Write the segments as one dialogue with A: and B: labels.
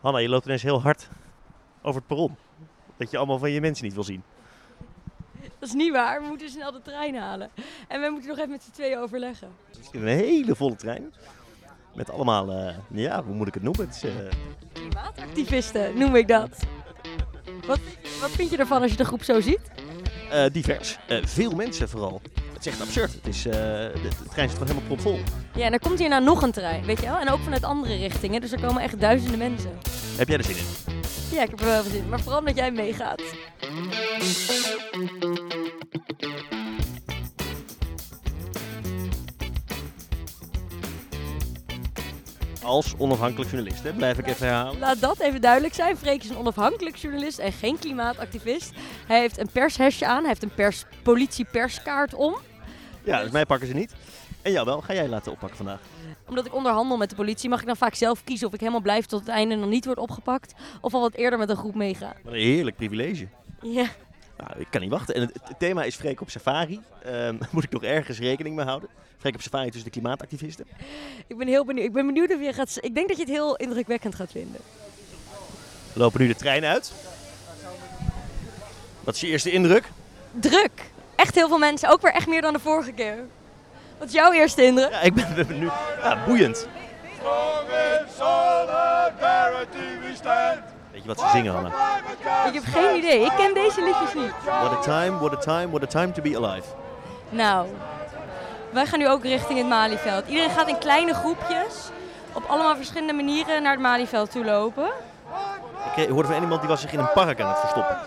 A: Hanna, je loopt ineens heel hard over het perron. Dat je allemaal van je mensen niet wil zien.
B: Dat is niet waar. We moeten snel de trein halen. En we moeten nog even met z'n tweeën overleggen.
A: Het is een hele volle trein. Met allemaal, eh, ja, hoe moet ik het noemen? Het is, eh,
B: Klimaatactivisten noem ik dat. Wat, wat vind je ervan als je de groep zo ziet?
A: eh, divers. Eh, veel mensen vooral. Het is echt absurd. Het is, eh, de, de trein zit gewoon helemaal propvol.
B: Ja, en er komt hierna nog een trein, weet je wel? En ook vanuit andere richtingen. Dus er komen echt duizenden mensen.
A: Heb jij er zin in?
B: Ja, ik heb er wel veel zin in. Maar vooral omdat jij meegaat.
A: Als onafhankelijk journalist, hè, blijf ik even herhalen.
B: Laat dat even duidelijk zijn. Freek is een onafhankelijk journalist en geen klimaatactivist. Hij heeft een pershesje aan. Hij heeft een pers, politie-perskaart om.
A: Ja, dus mij pakken ze niet. En jou wel, ga jij laten oppakken vandaag.
B: Omdat ik onderhandel met de politie, mag ik dan vaak zelf kiezen of ik helemaal blijf tot het einde en dan niet word opgepakt. Of al wat eerder met een groep meega.
A: Wat een heerlijk privilege.
B: Ja.
A: Nou, ik kan niet wachten. En het, het thema is Freek op safari. Ehm, moet ik nog ergens rekening mee houden? Freek op safari tussen de klimaatactivisten.
B: Ik ben heel benieuwd. Ik ben benieuwd of je gaat. Ik denk dat je het heel indrukwekkend gaat vinden.
A: We lopen nu de trein uit. Wat is je eerste indruk?
B: Druk. Echt heel veel mensen. Ook weer echt meer dan de vorige keer. Wat is jouw eerste indruk?
A: Ja, ik ben, ben nu ja, boeiend. Weet je wat ze zingen, Hanna?
B: Ik heb geen idee. Ik ken deze liedjes niet.
A: What a time, what a time, what a time to be alive.
B: Nou, wij gaan nu ook richting het Malieveld. Iedereen gaat in kleine groepjes op allemaal verschillende manieren naar het Malieveld toe lopen.
A: Ik kreeg- hoorde van iemand die was zich in een park aan het verstoppen.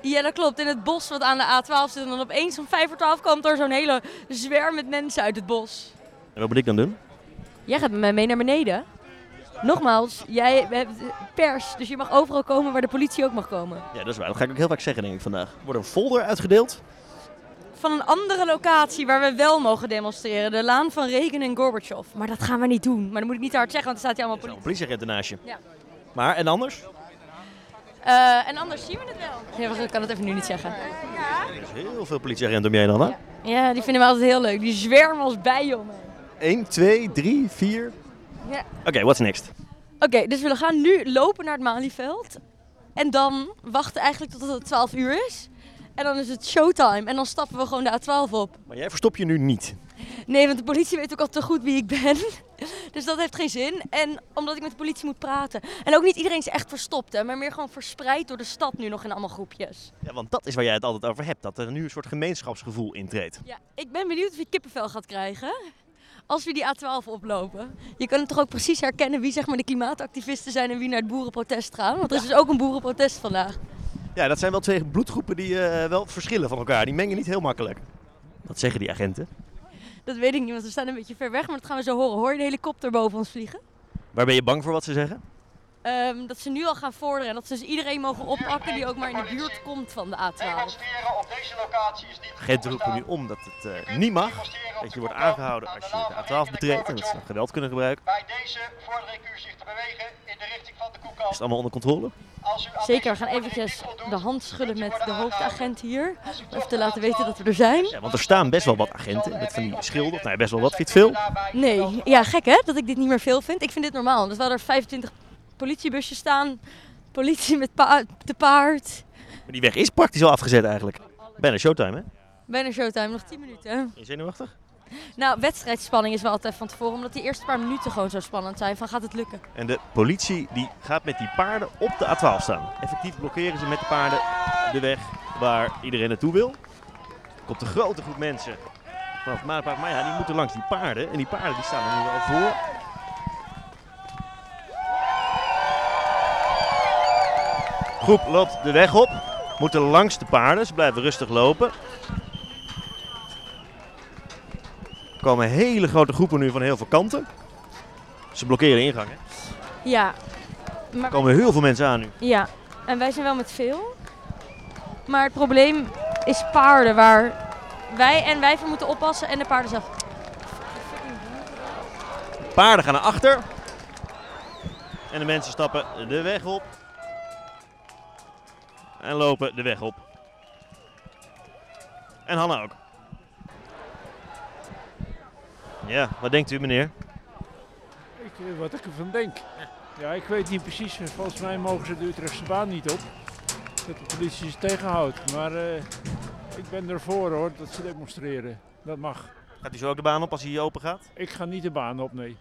B: Ja, dat klopt. In het bos wat aan de A12 zit. En dan opeens om 5 voor 12 komt er zo'n hele zwerm met mensen uit het bos.
A: En wat moet ik dan doen?
B: Jij gaat met mij mee naar beneden. Nogmaals, jij hebt pers, dus je mag overal komen waar de politie ook mag komen.
A: Ja, dat is waar. Dat ga ik ook heel vaak zeggen, denk ik, vandaag. Er wordt een folder uitgedeeld.
B: Van een andere locatie waar we wel mogen demonstreren. De Laan van Reagan en Gorbachev. Maar dat gaan we niet doen. Maar dat moet ik niet te hard zeggen, want er staat hier allemaal
A: Er staat een
B: politie.
A: politieagent ernaast je.
B: Ja.
A: Maar, en anders?
B: Eh, en anders zien we het wel. Ja, ik kan het even nu niet zeggen.
A: Er is heel veel politieagenten om je heen, Hanna.
B: Ja, die vinden we altijd heel leuk. Die zwermen als bijenjongen.
A: 1, 2, 3, 4.
B: Ja.
A: Oké, what's next?
B: Oké, dus we gaan nu lopen naar het Malieveld. En dan wachten eigenlijk tot het 12 uur is. En dan is het showtime. En dan stappen we gewoon de A12 op.
A: Maar jij verstop je nu niet.
B: Nee, want de politie weet ook al te goed wie ik ben. Dus dat heeft geen zin. En omdat ik met de politie moet praten. En ook niet iedereen is echt verstopt, hè, maar meer gewoon verspreid door de stad nu nog in allemaal groepjes.
A: Ja, want dat is waar jij het altijd over hebt. Dat er nu een soort gemeenschapsgevoel intreedt.
B: Ja, ik ben benieuwd of je kippenvel gaat krijgen. Als we die A12 oplopen. Je kan het toch ook precies herkennen wie zeg maar de klimaatactivisten zijn en wie naar het boerenprotest gaan. Want er is dus ook een boerenprotest vandaag.
A: Ja, dat zijn wel twee bloedgroepen die eh, wel verschillen van elkaar. Die mengen niet heel makkelijk. Wat zeggen die agenten?
B: Dat weet ik niet, want we staan een beetje ver weg, maar dat gaan we zo horen. Hoor je de helikopter boven ons vliegen?
A: Waar ben je bang voor wat ze zeggen?
B: Ehm, dat ze nu al gaan vorderen en dat ze dus iedereen mogen oppakken die ook maar in de buurt komt van de A12.
C: Demonstreren op deze locatie is niet
A: Agenten roepen nu om dat het eh, niet mag. Dat je wordt aangehouden als je de A12 betreedt. En dat ze dan geweld kunnen gebruiken.
C: Bij deze vorder ik u zich te bewegen in de richting van de
A: Is
C: koekkast.
A: het allemaal onder controle?
C: Als u
B: Zeker, we
C: aan deze
B: gaan
C: vordering
B: eventjes
C: niet voldoet,
B: de hand schudden
C: kunt u
B: met de
C: worden aangehouden.
B: hoofdagent hier.
C: Als u
B: Om even
C: toch
B: te
C: de
B: laten
C: A12
B: weten dat we er zijn.
A: Ja, want er staan best wel wat agenten met van die schilden. Nou, ja, best wel wat. Vind je het veel?
C: daarbij
B: Nee, ja gek hè, dat ik dit niet meer veel vind. Ik vind dit normaal, omdat we hadden er 25 politiebusjes staan. Politie met pa te paard.
A: Maar die weg is praktisch al afgezet eigenlijk. Bijna showtime, hè?
B: Bijna showtime, nog 10 minuten.
A: Ben je zenuwachtig?
B: Nou, wedstrijdspanning is wel altijd van tevoren, omdat die eerste paar minuten gewoon zo spannend zijn. Van gaat het lukken?
A: En de politie die gaat met die paarden op de A12 staan. Effectief blokkeren ze met de paarden de weg waar iedereen naartoe wil. Er komt een grote groep mensen vanaf het Marenpark. Maar ja, die moeten langs die paarden. En die paarden die staan er nu al voor. Groep loopt de weg op. Moeten langs de paarden. Ze blijven rustig lopen. Er komen hele grote groepen nu van heel veel kanten. Ze blokkeren de ingang. Hè?
B: Ja,
A: Er komen heel veel mensen aan nu.
B: Ja, en wij zijn wel met veel. Maar het probleem is paarden waar wij en wij voor moeten oppassen en de paarden zelf.
A: Paarden gaan naar achter. En de mensen stappen de weg op. En lopen de weg op. En Hanna ook. Ja, wat denkt u meneer?
D: Ik, eh, wat ik ervan denk. Ja, ik weet niet precies. Volgens mij mogen ze de Utrechtse baan niet op. Dat de politie ze tegenhoudt. Maar eh, ik ben ervoor hoor, dat ze demonstreren. Dat mag.
A: Gaat hij zo ook de baan op als hij hier open gaat?
D: Ik ga niet de baan op, nee.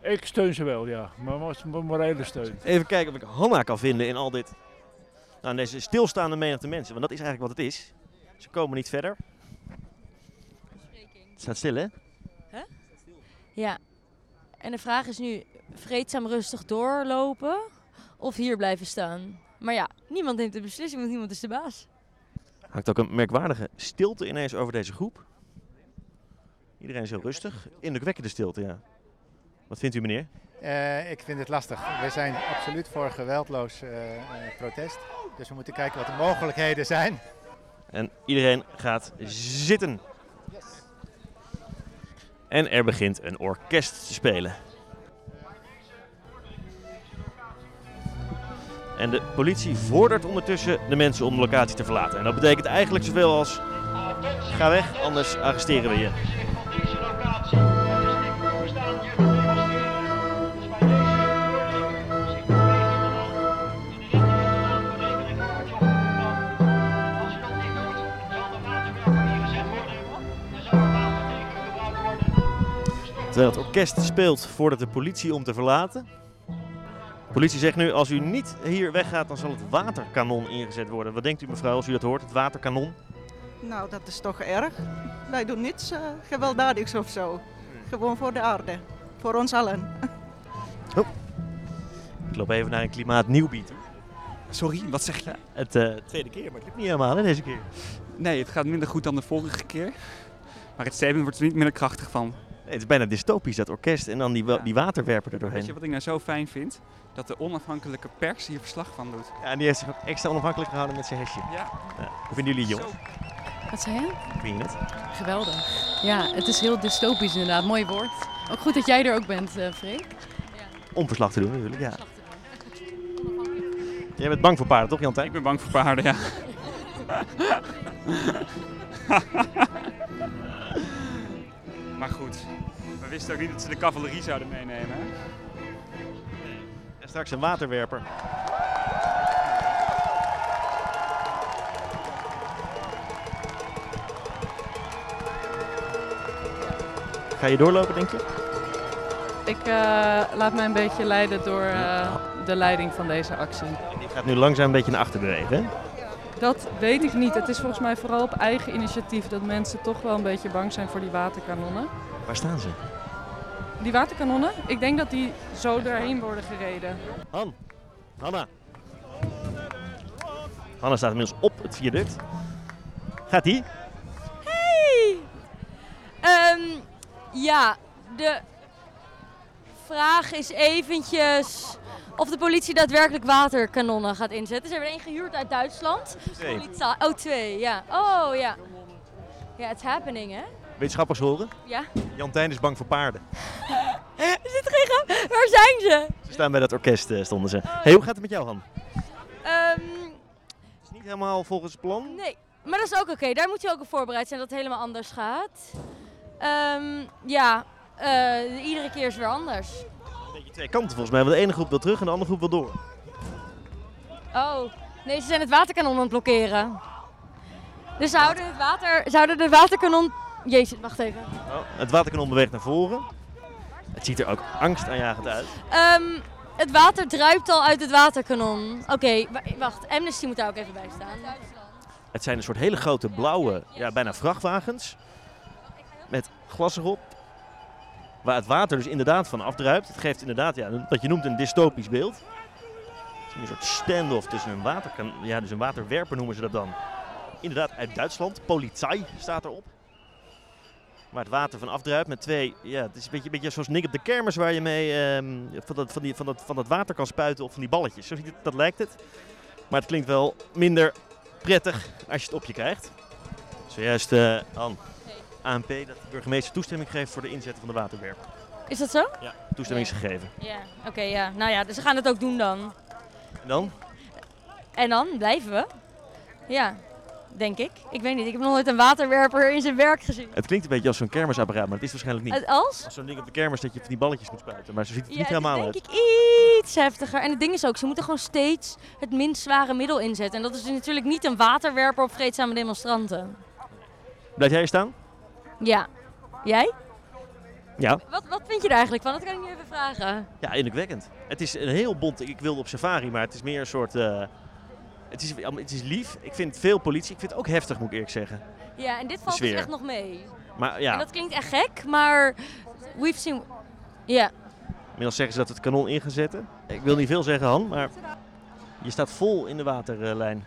D: Ik steun ze wel, ja. Maar was een morele steun.
A: Even kijken of ik Hanna kan vinden in al dit. Nou, deze stilstaande menigte mensen, want dat is eigenlijk wat het is. Ze komen niet verder. Het staat stil, hè?
B: Ja. En de vraag is nu, vreedzaam rustig doorlopen of hier blijven staan? Maar ja, niemand neemt de beslissing, want niemand is de baas.
A: Hangt ook een merkwaardige stilte ineens over deze groep. Iedereen is heel rustig. Indrukwekkende stilte, ja. Wat vindt u, meneer?
E: Eh, ik vind het lastig. We zijn absoluut voor geweldloos eh, eh, protest. Dus we moeten kijken wat de mogelijkheden zijn.
A: En iedereen gaat zitten. En er begint een orkest te spelen. En de politie vordert ondertussen de mensen om de locatie te verlaten. En dat betekent eigenlijk zoveel als ga weg, anders arresteren we je.
C: Gezicht van deze locatie. Het is niet toegestaan hier te demonstreren. Dus bij deze vordering u zich te bewegen in de naam. In de richting in de naam van rekening voor het job. Als u dat niet doet, zal de waterwerker hier gezet worden. En zal er water tegen u gebruikt worden.
A: Terwijl het orkest speelt voordat de politie om te verlaten. De politie zegt nu, als u niet hier weggaat, dan zal het waterkanon ingezet worden. Wat denkt u mevrouw als u dat hoort, het waterkanon?
F: Nou, dat is toch erg. Wij doen niets eh, gewelddadigs of zo. Gewoon voor de aarde. Voor ons allen.
A: Ik loop even naar een klimaatnieuwbied. toe.
G: Sorry, wat zeg je?
A: Het eh, tweede keer, maar het lukt niet helemaal hè, deze keer.
G: Nee, het gaat minder goed dan de vorige keer. Maar het statement wordt er niet minder krachtig van.
A: Nee, het is bijna dystopisch, dat orkest en dan die, wa-
G: Ja.
A: die waterwerper er
G: Weet
A: doorheen.
G: je wat ik nou zo fijn vind? Dat de onafhankelijke pers hier verslag van doet.
A: Ja, en die heeft zich ook extra onafhankelijk gehouden met zijn hesje.
G: Ja,
A: Ja. Hoe vinden jullie jongens?
H: Wat zei je?
A: Hoe vind je het?
H: Geweldig. Ja, het is heel dystopisch inderdaad. Mooi woord. Ook goed dat jij er ook bent, eh Freek.
A: Om verslag te doen natuurlijk, ja. Jij bent bang voor paarden toch, Jantijn?
G: ik ben bang voor paarden, ja. maar goed, we wisten ook niet dat ze de cavalerie zouden meenemen. hè?
A: En straks een waterwerper. Ga je doorlopen, denk je?
H: Ik Eh, laat mij een beetje leiden door eh, de leiding van deze actie.
A: Je gaat nu langzaam een beetje naar achter bewegen. Hè?
H: Dat weet ik niet. Het is volgens mij vooral op eigen initiatief dat mensen toch wel een beetje bang zijn voor die waterkanonnen.
A: Waar staan ze?
H: Die waterkanonnen, ik denk dat die zo doorheen worden gereden.
A: Han. Hanna. Hanna staat inmiddels op het viaduct. Gaat die?
B: Ehm, ja, de vraag is eventjes of de politie daadwerkelijk waterkanonnen gaat inzetten. Ze hebben er één gehuurd uit Duitsland. Politie- Oh, twee, ja. Oh, ja. Ja, it's happening, hè?
A: Wetenschappers horen.
B: Ja.
A: Jantijn is bang voor paarden.
B: Is dit geen grap? Waar zijn ze?
A: Ze staan bij dat orkest, eh, stonden ze. Hey, hoe gaat het met jou, Han?
B: Ehm,
A: Is niet helemaal volgens plan.
B: nee, maar dat is ook oké. Daar moet je ook op voorbereid zijn dat het helemaal anders gaat. Ehm, ja, eh, iedere keer is weer anders.
A: Een beetje twee kanten volgens mij, want de ene groep wil terug en de andere groep wil door.
B: Oh, nee, ze zijn het waterkanon aan het blokkeren. Dus ze houden het water, ze houden de waterkanon... Jezus, wacht even.
A: Het waterkanon beweegt naar voren. Het ziet er ook angstaanjagend uit.
B: Ehm, het water druipt al uit het waterkanon. Oké, wa- wacht. Amnesty moet daar ook even bij staan.
A: Het zijn een soort hele grote blauwe, ja, bijna vrachtwagens. Met glas erop. Waar het water dus inderdaad van afdruipt. Het geeft inderdaad, ja, een- wat je noemt, een dystopisch beeld. Het is een soort standoff tussen een, waterkan ja, dus een waterwerper noemen ze dat dan. Inderdaad, uit Duitsland. Polizei staat erop. Waar het water van afdruipt met twee... Ja, het is een beetje, een beetje zoals Nick op de kermis waar je mee ehm, van, dat, van, die, van, dat, van dat water kan spuiten of van die balletjes. Zo ziet het, dat lijkt het. Maar het klinkt wel minder prettig als je het op je krijgt. Zojuist, eh An, ANP, dat de burgemeester toestemming geeft voor de inzet van de waterwerper.
B: Is dat zo?
A: Ja. Toestemming is gegeven.
B: Ja. Oké, ja. Nou ja, dus ze gaan het ook doen dan.
A: En dan?
B: En dan blijven we. Ja. denk ik. Ik weet niet, ik heb nog nooit een waterwerper in zijn werk gezien.
A: Het klinkt een beetje als zo'n kermisapparaat, maar het is waarschijnlijk niet.
B: Het als?
A: Als zo'n ding op de kermis dat je van die balletjes moet spuiten. Maar zo ziet het er
B: Ja,
A: niet
B: het is
A: helemaal uit.
B: denk ik iets heftiger. En het ding is ook, ze moeten gewoon steeds het minst zware middel inzetten. En dat is dus natuurlijk niet een waterwerper op vreedzame demonstranten.
A: Blijf jij hier staan?
B: Ja. Jij?
A: Ja.
B: Wat, wat vind je er eigenlijk van? Dat kan ik nu even vragen.
A: Ja, indrukwekkend. Het is een heel bont. Ik wilde op safari, maar het is meer een soort. eh, het, is, het is lief. Ik vind veel politie. Ik vind het ook heftig, moet ik eerlijk zeggen.
B: Ja, en dit valt dus
A: sfeer.
B: echt nog mee.
A: Maar ja,
B: En dat klinkt echt gek, maar we've seen... Ja,
A: inmiddels zeggen ze dat we het kanon in gaan zetten. Ik wil niet veel zeggen, Han, maar je staat vol in de waterlijn.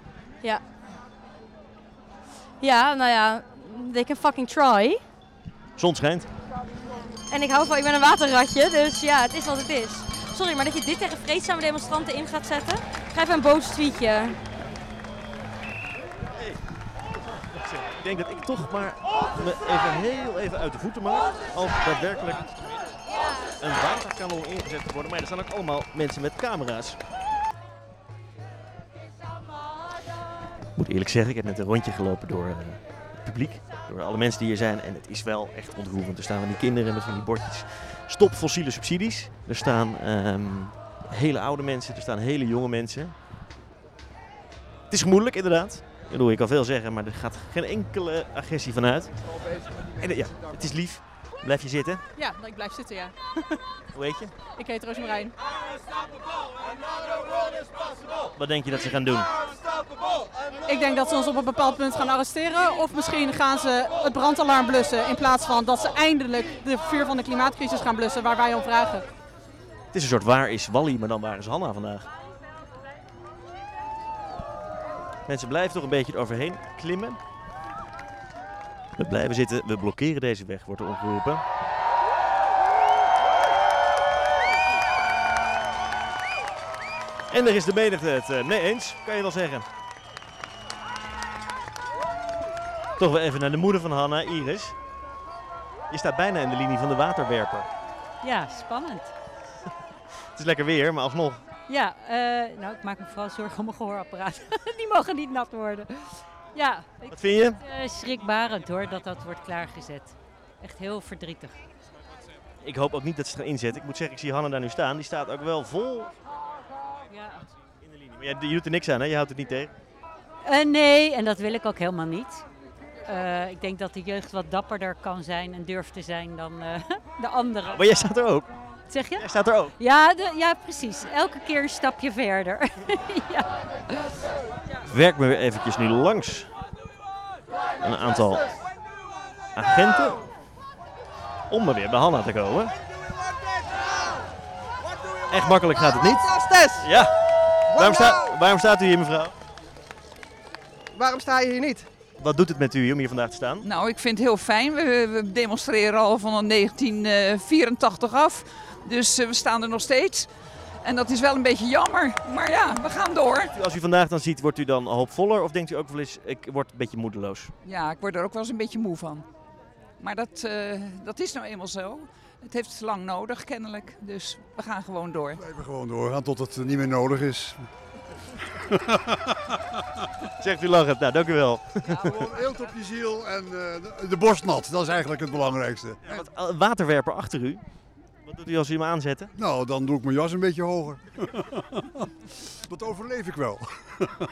B: ja nou ja, they can fucking try.
A: Zon schijnt.
B: En ik hou van, ik ben een waterratje, dus ja, het is wat het is. Sorry, maar dat je dit tegen vreedzame demonstranten in gaat zetten? Geef een boos tweetje.
A: Ik denk dat ik toch maar me even heel even uit de voeten maak. Als daadwerkelijk een waterkanon ingezet te worden. Maar er staan ook allemaal mensen met camera's. Ik moet eerlijk zeggen, ik heb net een rondje gelopen door eh, het publiek. Door alle mensen die hier zijn. En het is wel echt ontroerend. Er staan van die kinderen met van die bordjes. Stop fossiele subsidies. Er staan ehm, hele oude mensen. Er staan hele jonge mensen. Het is moeilijk inderdaad. Ik bedoel, ik kan veel zeggen, maar er gaat geen enkele agressie vanuit. En eh, ja, het is lief. Blijf je zitten.
I: Ja, nou, ik blijf zitten, ja.
A: Hoe heet je?
I: Ik heet Roosmarijn.
A: Wat denk je dat ze gaan doen?
I: Ik denk dat ze ons op een bepaald punt gaan arresteren. Of misschien gaan ze het brandalarm blussen. In plaats van dat ze eindelijk de vuur van de klimaatcrisis gaan blussen waar wij om vragen.
A: Het is een soort waar is Wally, maar dan waar is Hanna vandaag. Mensen blijven toch een beetje eroverheen klimmen. We blijven zitten, we blokkeren deze weg, wordt er opgeroepen. En er is de menigte het eh, mee eens, kan je wel zeggen. Toch weer even naar de moeder van Hanna, Iris. Je staat bijna in de linie van de waterwerper.
J: Ja, spannend.
A: Het is lekker weer, maar alsnog.
J: Ja, eh, nou, ik maak me vooral zorgen om mijn gehoorapparaat. Die mogen niet nat worden. Ja, ik,
A: Wat vind je?
J: eh, schrikbarend hoor dat dat wordt klaargezet. Echt heel verdrietig.
A: Ik hoop ook niet dat ze het gaan inzetten. Ik moet zeggen, ik zie Hanna daar nu staan. Die staat ook wel vol
J: Ja.
A: in de linie. Maar jij, je doet er niks aan, hè? Je houdt het niet tegen.
J: Eh, nee, en dat wil ik ook helemaal niet. Eh, ik denk dat de jeugd wat dapperder kan zijn en durft te zijn dan eh, de anderen.
A: Maar jij staat er ook.
J: Zeg je?
A: Jij staat er ook.
J: Ja, de- ja, precies. Elke keer een stapje verder. ja.
A: Werk me weer eventjes nu langs. Een aantal agenten. Om maar weer bij Hanna te komen. Echt makkelijk gaat het niet. Ja. Waarom, sta, waarom staat u hier, mevrouw?
K: Waarom sta je hier niet?
A: Wat doet het met u om hier vandaag te staan?
L: Nou, ik vind het heel fijn. We, we demonstreren al van 1984 af. Dus eh, we staan er nog steeds. En dat is wel een beetje jammer. Maar ja, we gaan door.
A: Als u vandaag dan ziet, wordt u dan hoopvoller? Of denkt u ook wel eens, ik word een beetje moedeloos?
L: Ja, ik word er ook wel eens een beetje moe van. Maar dat, eh, dat is nou eenmaal zo. Het heeft lang nodig, kennelijk. Dus we gaan gewoon door.
K: Blijven gewoon doorgaan tot het niet meer nodig is.
A: Zegt u lachend. Nou, dank u wel.
K: Eelt op je ziel en eh, de- de borst nat, dat is eigenlijk het belangrijkste.
A: Ja, want, eh, waterwerper achter u. Wat doet u als u hem aanzetten?
K: Nou, dan doe ik mijn jas een beetje hoger. dat overleef ik wel.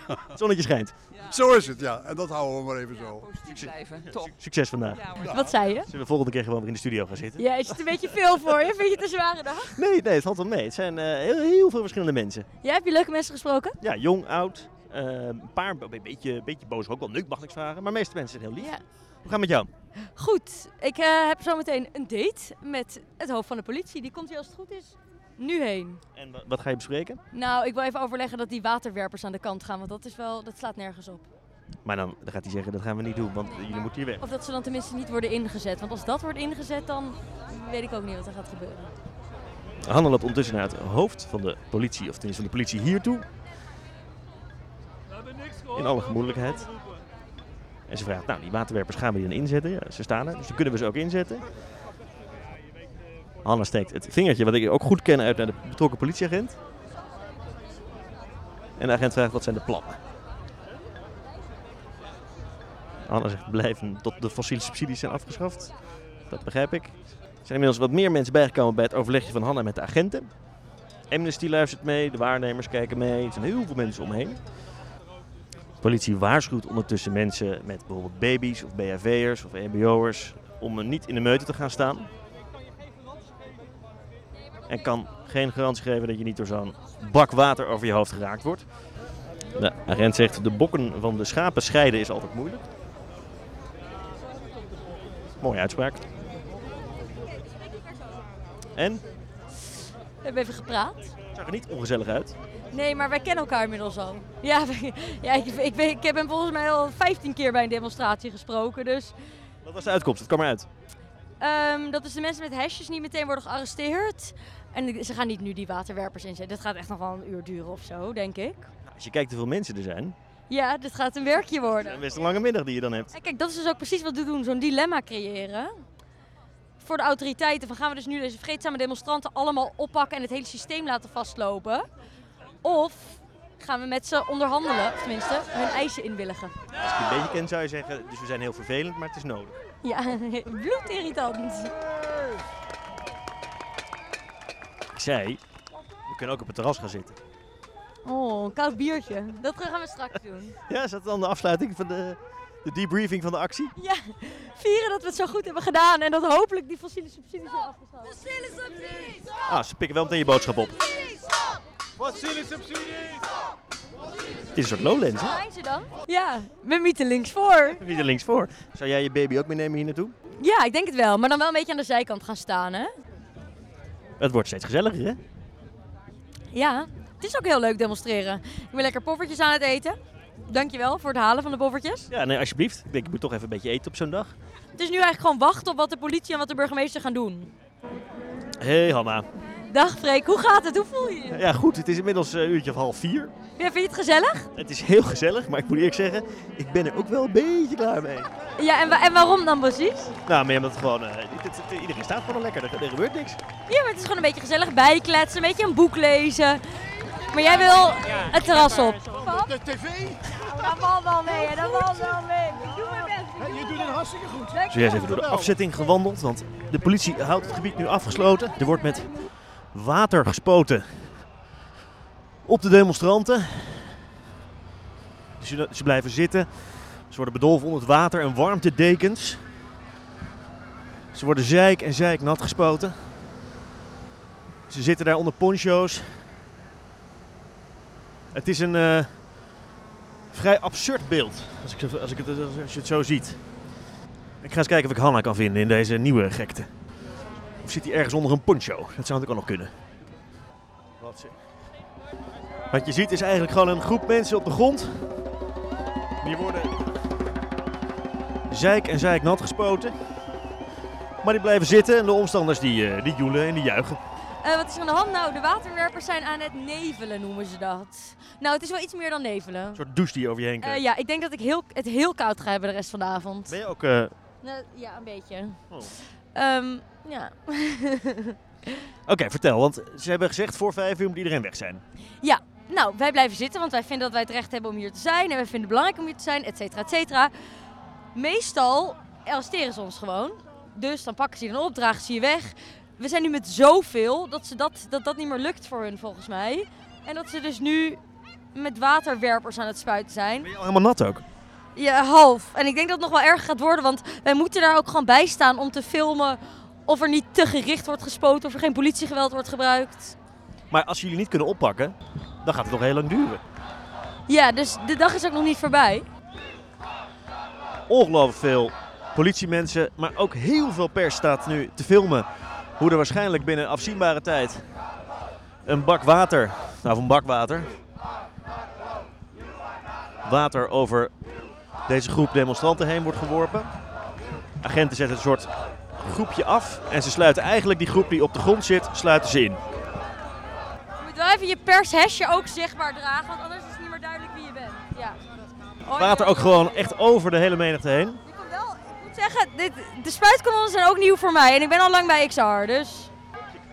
A: Het zonnetje schijnt.
K: Zo is het, ja. En dat houden we maar even
L: Ja,
K: zo.
L: positief blijven. Top.
A: Succes vandaag.
L: Ja, hoor.
B: Wat zei je?
A: Zullen we volgende keer gewoon weer in de studio gaan zitten?
B: Ja, is het een beetje veel voor je? Vind je het een zware dag?
A: Nee, nee, het valt wel mee. Het zijn eh, heel, heel veel verschillende mensen.
B: Jij hebt je leuke mensen gesproken?
A: Ja, jong, oud. eh, een paar, een beetje, een beetje boos ook wel. Leuk mag ik vragen. Maar de meeste mensen zijn heel lief.
B: Ja.
A: Hoe gaat het met jou?
B: Goed, ik eh, heb zo meteen een date met het hoofd van de politie. Die komt hier als het goed is nu heen.
A: En wa- wat ga je bespreken?
B: Nou, ik wil even overleggen dat die waterwerpers aan de kant gaan, want dat is wel, dat slaat nergens op.
A: Maar dan, dan gaat hij zeggen, dat gaan we niet doen, want jullie moeten hier weg.
B: Of dat ze dan tenminste niet worden ingezet, want als dat wordt ingezet, dan weet ik ook niet wat er gaat gebeuren.
A: Hanna loopt ondertussen naar het hoofd van de politie, of tenminste van de politie hiertoe. In alle gemoedelijkheid. En ze vraagt, nou die waterwerpers gaan we die dan inzetten? Ja, ze staan er, dus dan kunnen we ze ook inzetten. Hanna steekt het vingertje, wat ik ook goed ken, uit naar de betrokken politieagent. En de agent vraagt, wat zijn de plannen? Anna zegt blijven tot de fossiele subsidies zijn afgeschaft. Dat begrijp ik. Er zijn inmiddels wat meer mensen bijgekomen bij het overlegje van Hanna met de agenten. Amnesty luistert mee, de waarnemers kijken mee. Er zijn heel veel mensen omheen. De politie waarschuwt ondertussen mensen met bijvoorbeeld baby's of BHV'ers of EMBO'ers om er niet in de meute te gaan staan. En kan geen garantie geven dat je niet door zo'n bak water over je hoofd geraakt wordt. De agent zegt de bokken van de schapen scheiden is altijd moeilijk. Mooie uitspraak. En?
B: We hebben even gepraat.
A: Zag er niet ongezellig uit.
B: Nee, maar wij kennen elkaar inmiddels al. Ja, wij- ja ik, ik, ben- ik heb hem volgens mij al 15 keer bij een demonstratie gesproken. Dus
A: Wat was de uitkomst? Het kwam eruit.
B: Ehm, dat dus de mensen met hesjes niet meteen worden gearresteerd. En ik- ze gaan niet nu die waterwerpers inzetten. Dit gaat echt nog wel een uur duren of zo, denk ik.
A: Nou, Als je kijkt hoeveel mensen er zijn,
B: Ja, dit gaat een werkje
A: is
B: worden.
A: het best een lange middag die je dan hebt.
B: En kijk, dat is dus ook precies wat we doen, zo'n dilemma creëren. Voor de autoriteiten, van gaan we dus nu deze vreedzame demonstranten allemaal oppakken en het hele systeem laten vastlopen? Of gaan we met ze onderhandelen, of tenminste hun eisen inwilligen?
A: Als ik je een beetje ken zou je zeggen, dus we zijn heel vervelend, maar het is nodig.
B: Ja, bloedirritant.
A: Ik zei, we kunnen ook op het terras gaan zitten.
B: Oh, een koud biertje. Dat gaan we straks doen.
A: Ja, is dat dan de afsluiting van de, de debriefing van de actie?
B: Ja, vieren dat we het zo goed hebben gedaan en dat hopelijk die fossiele subsidies zijn afgeschaft. Fossiele subsidies!
A: Ah, ze pikken wel meteen je boodschap op.
B: Fossiele subsidies!
A: Het is een soort lowlands, hè?
B: Zijn ze dan? Ja, met Mieten links voor.
A: Wie er links voor? Zou jij je baby ook meenemen hier naartoe?
B: Ja, ik denk het wel, maar dan wel een beetje aan de zijkant gaan staan, hè?
A: Het wordt steeds gezelliger, hè?
B: Ja, het is ook heel leuk demonstreren. Ik ben lekker poffertjes aan het eten. Dankjewel voor het halen van de poffertjes.
A: Ja, nee, alsjeblieft. Ik denk, ik moet toch even een beetje eten op zo'n dag.
B: Het is nu eigenlijk gewoon wachten op wat de politie en wat de burgemeester gaan doen.
A: Hé, hey, Hanna.
B: Dag Freek, hoe gaat het? Hoe voel je je?
A: Ja, goed, het is inmiddels eh, een uurtje of half vier.
B: Ja, vind je het gezellig?
A: Het is heel gezellig, maar ik moet eerlijk zeggen, ik ben er ook wel een beetje klaar mee.
B: Ja, en, wa- en waarom dan precies?
A: Nou, meer omdat het gewoon, eh, dit- dit- dit- iedereen staat gewoon lekker, er, er gebeurt niks.
B: Ja, maar het is gewoon een beetje gezellig bijkletsen, een beetje een boek lezen. Maar jij wil het terras op.
K: De tv?
B: Dat valt wel mee, hè, dat valt wel mee. Ik doe mijn best.
K: Hé, Je doet het hartstikke goed.
A: Zojuist even door de afzetting gewandeld, want de politie houdt het gebied nu afgesloten. Er wordt met water gespoten op de demonstranten. Ze, ze blijven zitten. Ze worden bedolven onder het water en warmtedekens. Ze worden zeik en zeik nat gespoten. Ze zitten daar onder poncho's. Het is een eh, vrij absurd beeld, als, ik, zo- als, ik het, als je het zo ziet. Ik ga eens kijken of ik Hanna kan vinden in deze nieuwe gekte. Of zit hij ergens onder een poncho? Dat zou natuurlijk ook nog kunnen. Wat, ze- Wat je ziet is eigenlijk gewoon een groep mensen op de grond. Die worden zeik en zeik nat gespoten. Maar die blijven zitten en de omstanders die, eh, die joelen en die juichen.
B: Eh, wat is er aan de hand? Nou, de waterwerpers zijn aan het nevelen, noemen ze dat. Nou, het is wel iets meer dan nevelen.
A: Een soort douche die over je heen komt.
B: Eh, ja, ik denk dat ik heel, het heel koud ga hebben de rest van de avond.
A: Ben je ook... eh,
B: Nou, ja, een beetje.
A: Oh.
B: Ehm, ja.
A: Oké, vertel, want ze hebben gezegd voor vijf uur moet iedereen weg zijn.
B: ja, nou, wij blijven zitten, want wij vinden dat wij het recht hebben om hier te zijn. En wij vinden het belangrijk om hier te zijn, et cetera, et cetera. Meestal arresteren ze ons gewoon. Dus dan pakken ze je een opdracht, zie je weg. We zijn nu met zoveel dat, ze dat, dat dat niet meer lukt voor hun, volgens mij. En dat ze dus nu met waterwerpers aan het spuiten zijn.
A: Helemaal nat ook.
B: Ja, half. En ik denk dat het nog wel erg gaat worden, want wij moeten daar ook gewoon bij staan om te filmen of er niet te gericht wordt gespoten, of er geen politiegeweld wordt gebruikt.
A: Maar als jullie niet kunnen oppakken, dan gaat het nog heel lang duren.
B: Ja, dus de dag is ook nog niet voorbij.
A: ongelooflijk veel politiemensen, maar ook heel veel pers staat nu te filmen hoe er waarschijnlijk binnen afzienbare tijd een bak water, nou of een bak water, water over deze groep demonstranten heen wordt geworpen. Agenten zetten een soort groepje af en ze sluiten eigenlijk die groep die op de grond zit, sluiten ze in.
B: Je moet wel even je pershesje ook zichtbaar dragen, want anders is het niet meer duidelijk wie je bent. Ja.
A: Water ook gewoon echt over de hele menigte heen.
B: Ik moet zeggen, dit, de spuitkanonnen zijn ook nieuw voor mij en ik ben al lang bij XR, dus...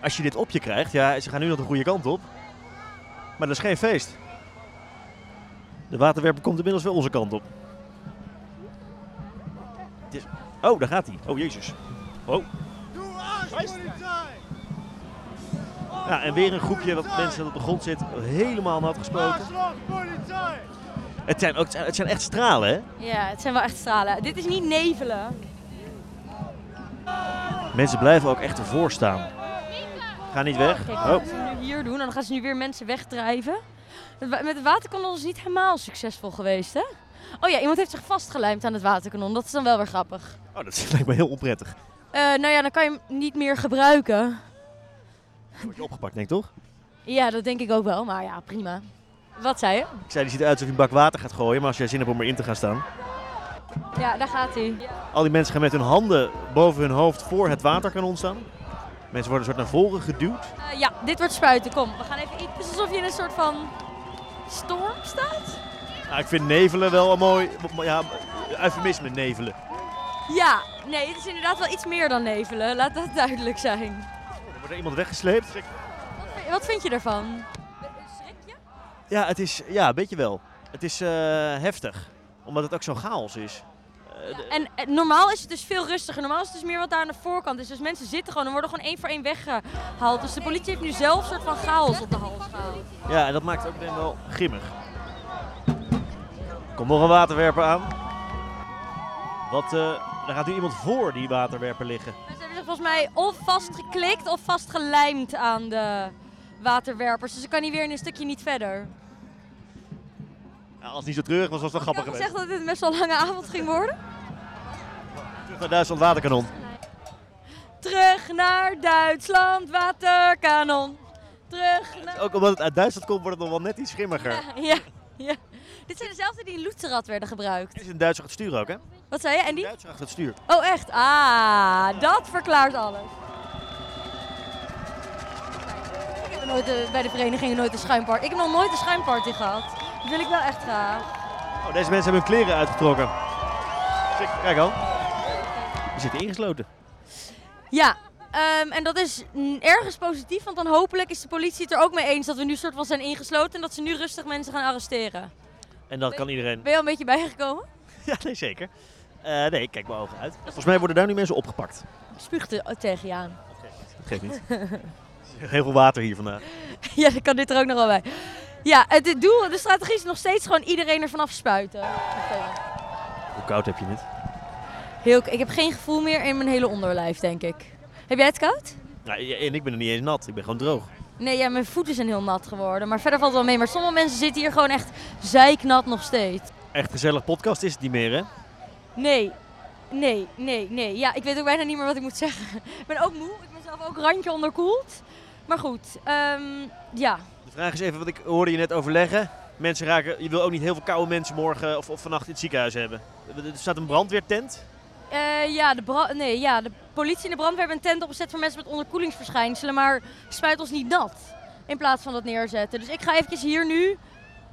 A: Als je dit op je krijgt, ja, ze gaan nu nog de goede kant op. Maar dat is geen feest. De waterwerper komt inmiddels wel onze kant op. Het is- Oh, daar gaat hij. Oh, jezus. Oh. Ja, en weer een groepje wat mensen dat op de grond zit, helemaal nat gespoten. Het zijn, ook, het zijn echt stralen, hè?
B: Ja, het zijn wel echt stralen. Dit is niet nevelen.
A: Mensen blijven ook echt ervoor staan. Ga niet weg.
B: Kijk,
A: Oh.
B: wat ze nu hier doen, en dan gaan ze nu weer mensen wegdrijven. Het wa- Met het waterkanon is het niet helemaal succesvol geweest, hè? Oh ja, iemand heeft zich vastgelijmd aan het waterkanon. Dat is dan wel weer grappig.
A: oh, dat lijkt me heel onprettig.
B: Eh, nou ja, dan kan je hem niet meer gebruiken.
A: Word je opgepakt, denk ik toch?
B: Ja, dat denk ik ook wel, maar ja, prima. Wat zei je?
A: Ik zei, die ziet eruit alsof je een bak water gaat gooien, maar als jij zin hebt om erin te gaan staan.
B: Ja, daar gaat hij.
A: Al die mensen gaan met hun handen boven hun hoofd voor het waterkanon staan. Mensen worden een soort naar voren geduwd.
B: Eh, ja, dit wordt spuiten. Kom, we gaan even iets. Het is alsof je in een soort van storm staat.
A: Ah, ik vind nevelen wel een mooi, ja, eufemisme nevelen.
B: Ja, nee, het is inderdaad wel iets meer dan nevelen. Laat dat duidelijk zijn.
A: Er wordt er iemand weggesleept.
B: Wat vind je ervan?
A: Ja, het is, ja, een beetje wel. Het is eh, heftig, omdat het ook zo'n chaos is.
B: En eh, normaal is het dus veel rustiger. Normaal is het dus meer wat daar aan de voorkant is. Dus mensen zitten gewoon en worden gewoon één voor één weggehaald. Dus de politie heeft nu zelf een soort van chaos op de hals gehaald.
A: Ja, en dat maakt het ook meteen wel grimmig. Komt nog een waterwerper aan. Wat, eh, daar gaat nu iemand voor die waterwerper liggen.
B: Ze hebben zich dus volgens mij of vastgeklikt of vastgelijmd aan de waterwerpers. Dus ze kan niet weer in een stukje niet verder.
A: Ja, Nou, als het niet zo treurig was, was het wel
B: Ik had
A: grappig
B: gezegd
A: geweest.
B: dat dit een best wel lange avond ging worden.
A: Terug naar Duitsland Waterkanon.
B: Terug naar Duitsland, waterkanon. Terug naar...
A: Ook omdat het uit Duitsland komt, wordt het nog wel net iets schimmiger. Het
B: Ja, ja. Dit zijn dezelfde die in Loetserat werden gebruikt.
A: is een Duitser het stuur ook, hè?
B: Wat zei je? En die?
A: Achter het stuur.
B: Oh, echt? Ah, dat verklaart alles. Ik heb nooit, eh, bij de verenigingen nooit een schuimparty. Ik heb nog nooit een schuimparty gehad. Dat wil ik wel echt graag.
A: Oh, deze mensen hebben hun kleren uitgetrokken. Kijk al. Die zitten ingesloten.
B: Ja, ehm, en dat is mm, ergens positief, want dan hopelijk is de politie het er ook mee eens dat we nu soort van zijn ingesloten en dat ze nu rustig mensen gaan arresteren.
A: En dat kan iedereen.
B: Ben je al een beetje bijgekomen?
A: Ja, nee, zeker. Eh, nee, ik kijk mijn ogen uit. Volgens mij worden daar nu mensen opgepakt.
B: Ik spuugde eh, tegen je aan.
A: Dat geeft niet. Heel veel water hier vandaag.
B: ja, dan kan dit er ook nog wel bij. Ja, het, het doel, de strategie is nog steeds gewoon iedereen er vanaf spuiten.
A: Hoe koud heb je het?
B: Heel, ik heb geen gevoel meer in mijn hele onderlijf, denk ik. Heb jij het koud?
A: Nou, ja, en ik ben er niet eens nat. Ik ben gewoon droog.
B: Nee, ja, mijn voeten zijn heel nat geworden. Maar verder valt het wel mee. Maar sommige mensen zitten hier gewoon echt zeiknat nog steeds.
A: Echt gezellig podcast is het niet meer, hè?
B: Nee, nee, nee, nee. Ja, ik weet ook bijna niet meer wat ik moet zeggen. Ik ben ook moe. Ik ben zelf ook randje onderkoeld. Maar goed, ehm, ja.
A: De vraag is even wat ik hoorde je net overleggen. Mensen raken, je wil ook niet heel veel koude mensen morgen of, of vannacht in het ziekenhuis hebben. Er staat een brandweertent.
B: Eh, ja, de bra- nee, ja, de politie en de brandweer hebben een tent opgezet voor mensen met onderkoelingsverschijnselen. Maar spuit ons niet nat. In plaats van dat neerzetten. Dus ik ga eventjes hier nu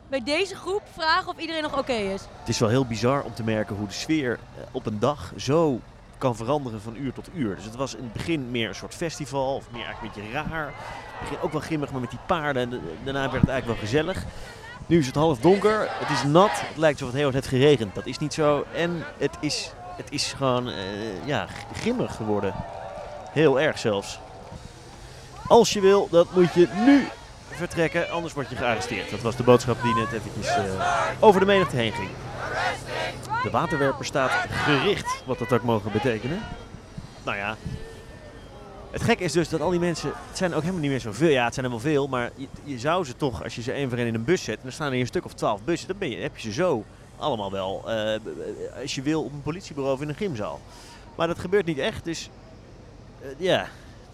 B: bij deze groep vragen of iedereen nog oké is.
A: Het is wel heel bizar om te merken hoe de sfeer eh, op een dag zo kan veranderen van uur tot uur. Dus het was in het begin meer een soort festival, of meer eigenlijk een beetje raar. Het begin ook wel grimmig, maar met die paarden. en de- Daarna werd het eigenlijk wel gezellig. Nu is het half donker, het is nat, het lijkt alsof het heel hard heeft geregend. Dat is niet zo. En het is, het is gewoon eh, ja, g- grimmig geworden. Heel erg zelfs. Als je wil, dat moet je nu vertrekken, anders word je gearresteerd. Dat was de boodschap die net eventjes eh, over de menigte heen ging. De waterwerper staat gericht, wat dat ook mogen betekenen. Nou ja. Het gekke is dus dat al die mensen, het zijn ook helemaal niet meer zoveel. Ja, het zijn er wel veel, maar je, je zou ze toch, als je ze één voor één in een bus zet, en er staan hier een stuk of twaalf bussen, dan ben je, heb je ze zo allemaal wel, eh, b- b- als je wil, op een politiebureau of in een gymzaal. Maar dat gebeurt niet echt, dus eh, ja,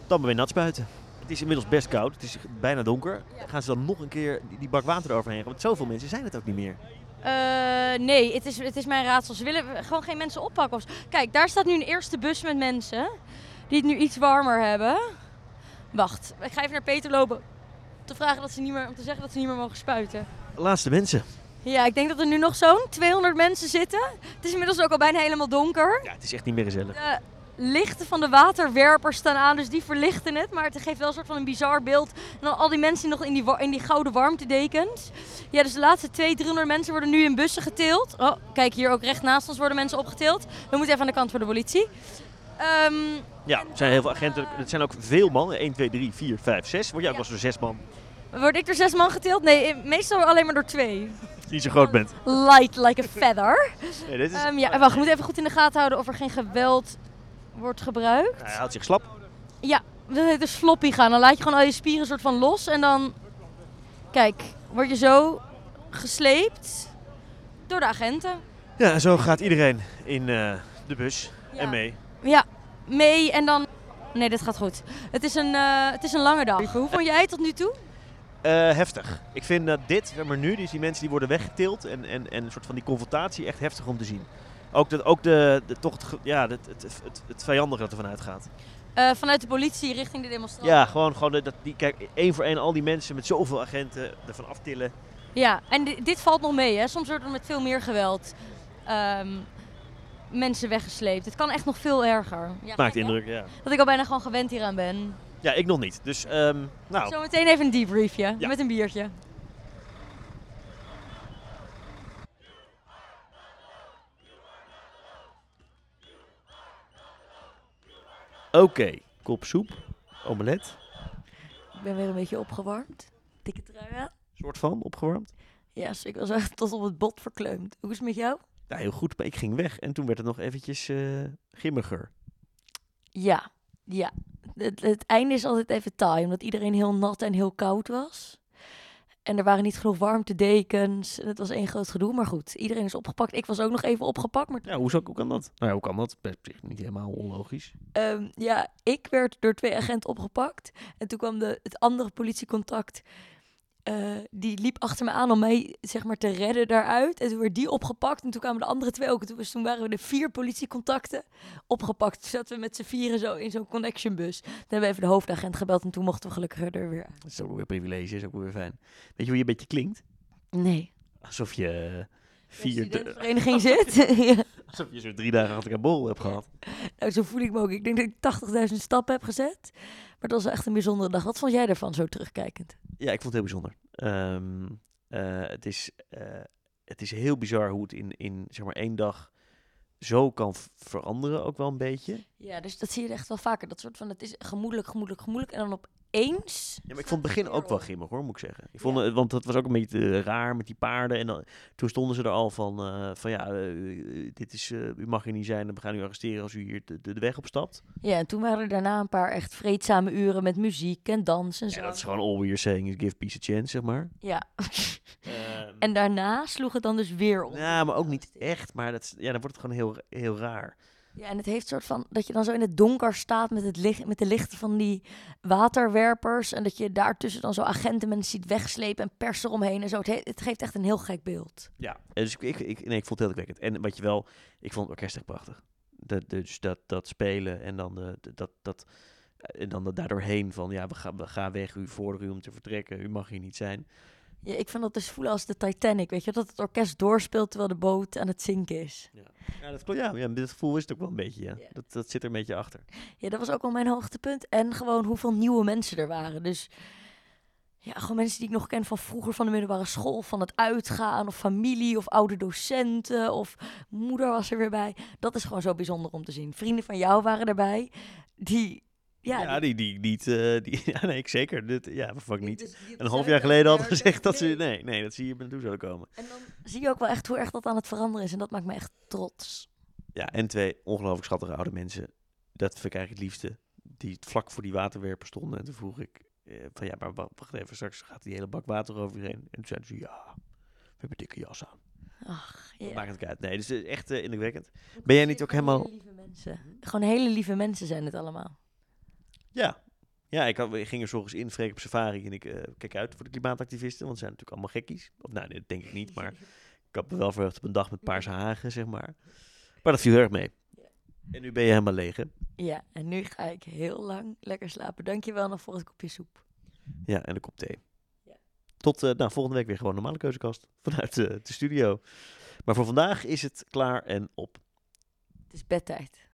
A: dan ben je nat spuiten. Het is inmiddels best koud, het is bijna donker. Gaan ze dan nog een keer die, die bak water eroverheen? gaan? Want zoveel mensen zijn het ook niet meer.
B: Eh, nee, het is, het is mijn raadsel. Ze willen gewoon geen mensen oppakken. of zo. Kijk, daar staat nu een eerste bus met mensen die het nu iets warmer hebben. Wacht, ik ga even naar Peter lopen om te vragen dat ze niet meer, om te zeggen dat ze niet meer mogen spuiten.
A: Laatste mensen.
B: Ja, ik denk dat er nu nog zo'n 200 mensen zitten. Het is inmiddels ook al bijna helemaal donker.
A: Ja, het is echt niet meer gezellig.
B: De lichten van de waterwerpers staan aan, dus die verlichten het. Maar het geeft wel een soort van een bizar beeld. En dan al die mensen nog in die, wa- in die gouden warmtedekens. Ja, dus de laatste 200, 300 mensen worden nu in bussen geteeld. Oh, kijk hier ook recht naast ons worden mensen opgeteeld. We moeten even aan de kant voor de politie. Ehm,
A: Ja, er zijn heel veel agenten. Het zijn ook veel mannen. 1, 2, 3, 4, 5, 6. Word jij ook wel zo'n 6 man
B: word ik door zes man geteeld? Nee, meestal alleen maar door twee.
A: die zo groot bent?
B: Light like a feather.
A: Nee, dit is-
B: Ehm, ja, wacht, we moeten even goed in de gaten houden of er geen geweld wordt gebruikt.
A: Hij houdt zich slap.
B: Ja, dat heet dus floppy gaan. Dan laat je gewoon al je spieren soort van los en dan... Kijk, word je zo gesleept door de agenten.
A: Ja, en zo gaat iedereen in eh, de bus en mee.
B: Ja, mee en dan... Nee, dit gaat goed. Het is een, eh, het is een lange dag. Hoe vond jij het tot nu toe?
A: Eh, heftig. Ik vind dat dit, zeg maar nu, dus die mensen die worden weggetild en, en, en een soort van die confrontatie echt heftig om te zien. Ook, dat, ook de, de, toch het, ge- ja, het, het, het, het vijandige dat ervan uitgaat.
B: Eh, vanuit de politie richting de demonstranten.
A: Ja, gewoon, gewoon dat die, kijk, één voor één al die mensen met zoveel agenten ervan aftillen.
B: Ja, en di- dit valt nog mee, hè? Soms wordt er met veel meer geweld ehm, mensen weggesleept. Het kan echt nog veel erger. Ja,
A: Maakt indruk, ja.
B: dat ik al bijna gewoon gewend hieraan ben.
A: Ja, ik nog niet. Dus, ehm nou.
B: Zometeen even een debriefje
A: Ja.
B: met een biertje.
A: Oké, kop soep, omelet,
B: Ik ben weer een beetje opgewarmd. Dikke trui aan.
A: soort van, opgewarmd.
B: Ja, dus ik was echt tot op het bot verkleumd. Hoe is het met jou?
A: Nou, heel goed, maar ik ging weg en toen werd het nog eventjes eh, gimmiger.
B: Ja, ja. Het, het einde is altijd even taai, omdat iedereen heel nat en heel koud was. En er waren niet genoeg warmtedekens. En het was één groot gedoe, maar goed. Iedereen is opgepakt. Ik was ook nog even opgepakt, maar
A: Ja, hoe, zou, hoe kan dat? Nou ja, hoe kan dat? Best niet helemaal onlogisch.
B: Ehm, ja, ik werd door twee agenten opgepakt. En toen kwam de, het andere politiecontact. eh, die liep achter me aan om mij zeg maar, te redden daaruit. En toen werd die opgepakt. En toen kwamen de andere twee ook. En toen, dus toen waren we de vier politiecontacten opgepakt. Toen zaten we met z'n vieren zo in zo'n connectionbus. Toen hebben we even de hoofdagent gebeld. En toen mochten we gelukkig er weer uit.
A: Dat is ook weer privilege, is ook weer fijn. Weet je hoe je een beetje klinkt?
B: Nee.
A: Alsof je eh,
B: Dus
A: vier...
B: studentenvereniging zit. Ja.
A: Alsof je zo'n drie dagen achter elkaar borrel hebt gehad.
B: Nou, zo voel ik me ook. Ik denk dat ik 80.000 stappen heb gezet. Maar dat was wel echt een bijzondere dag. Wat vond jij ervan zo terugkijkend?
A: Ja, ik vond het heel bijzonder. Ehm, eh, het, is, eh, het is heel bizar hoe het in, in zeg maar één dag zo kan v- veranderen ook wel een beetje.
B: Ja, dus dat zie je echt wel vaker. Dat soort van, het is gemoedelijk, gemoedelijk, gemoedelijk. En dan opeens...
A: Ja, maar ik vond het begin ook wel grimmig hoor, moet ik zeggen. Ik vond, het- Want dat was ook een beetje eh, raar met die paarden. En dan, toen stonden ze er al van, eh, van ja, eh, eh, dit is, eh, u mag hier niet zijn. en We gaan u arresteren als u hier de, de, de weg opstapt.
B: Ja, en toen waren er daarna een paar echt vreedzame uren met muziek en dans en zo.
A: Ja, dat is gewoon all we are saying is give peace a chance, zeg maar.
B: Ja. en daarna sloeg het dan dus weer om.
A: Ja, maar ook niet echt. Maar dat, is- ja, dan wordt het gewoon heel, heel raar.
B: Ja, en het heeft soort van dat je dan zo in het donker staat met, het licht, met de lichten van die waterwerpers. En dat je daartussen dan zo agenten mensen ziet wegslepen en pers eromheen en zo. Het, he- het geeft echt een heel gek beeld.
A: Ja. Dus ik, ik, ik- nee, ik vond het heel wekkend. En wat je wel, ik vond het orkest echt prachtig. Dat, dus dat, dat spelen en dan, de, de- dat, dat, en dan dat daardoorheen van, ja, we gaan we gaan weg, u voor u om te vertrekken, u mag hier niet zijn.
B: Ja, ik vind dat dus voelen als de Titanic, weet je. Dat het orkest doorspeelt terwijl de boot aan het zinken is.
A: Ja, dat klopt. Ja, ja dit gevoel is het ook wel een beetje, ja. Dat, dat zit er een beetje achter.
B: Ja, dat was ook wel mijn hoogtepunt. En gewoon hoeveel nieuwe mensen er waren. Dus ja, gewoon mensen die ik nog ken van vroeger van de middelbare school. Van het uitgaan of familie of oude docenten of moeder was er weer bij. Dat is gewoon zo bijzonder om te zien. Vrienden van jou waren erbij. Die, ja,
A: Ja, die, die, niet, eh, die, ja, nee, ik zeker. Dit, ja, fuck niet. een half
B: zijn
A: jaar
B: ook
A: geleden hadden
B: nergens
A: gezegd dat ze, nee, nee, dat ze hier naartoe zouden komen.
B: zie je ook wel echt hoe erg dat aan het veranderen is. En dat maakt me echt trots.
A: Ja, en twee ongelooflijk schattige oude mensen. Dat verkrijg ik het liefste. Die vlak voor die waterwerper stonden. En toen vroeg ik eh, van ja, maar wa- wacht even, straks gaat die hele bak water over je heen. En toen zeiden ze ja, we hebben dikke jas aan.
B: Ach, ja.
A: Maakt het niet uit. Nee, dus het is echt eh, indrukwekkend. Ben jij niet ook helemaal...
B: Mensen. Gewoon hele lieve mensen zijn het allemaal.
A: Ja. Ja, ik, had, ik ging er zorgens in, vreek op safari en ik eh, kijk uit voor de klimaatactivisten, want ze zijn natuurlijk allemaal gekkies. Of nou, nee, dat denk ik niet, maar ik had me wel verheugd op een dag met paarse hagen, zeg maar. Maar dat viel heel erg mee. En nu ben je helemaal leeg, hè?
B: Ja, en nu ga ik heel lang lekker slapen. Dankjewel nog voor het kopje soep.
A: Ja, en een kop thee. Tot eh, nou, volgende week weer gewoon normale keuzekast vanuit eh, de studio. Maar voor vandaag is het klaar en op.
B: Het is bedtijd.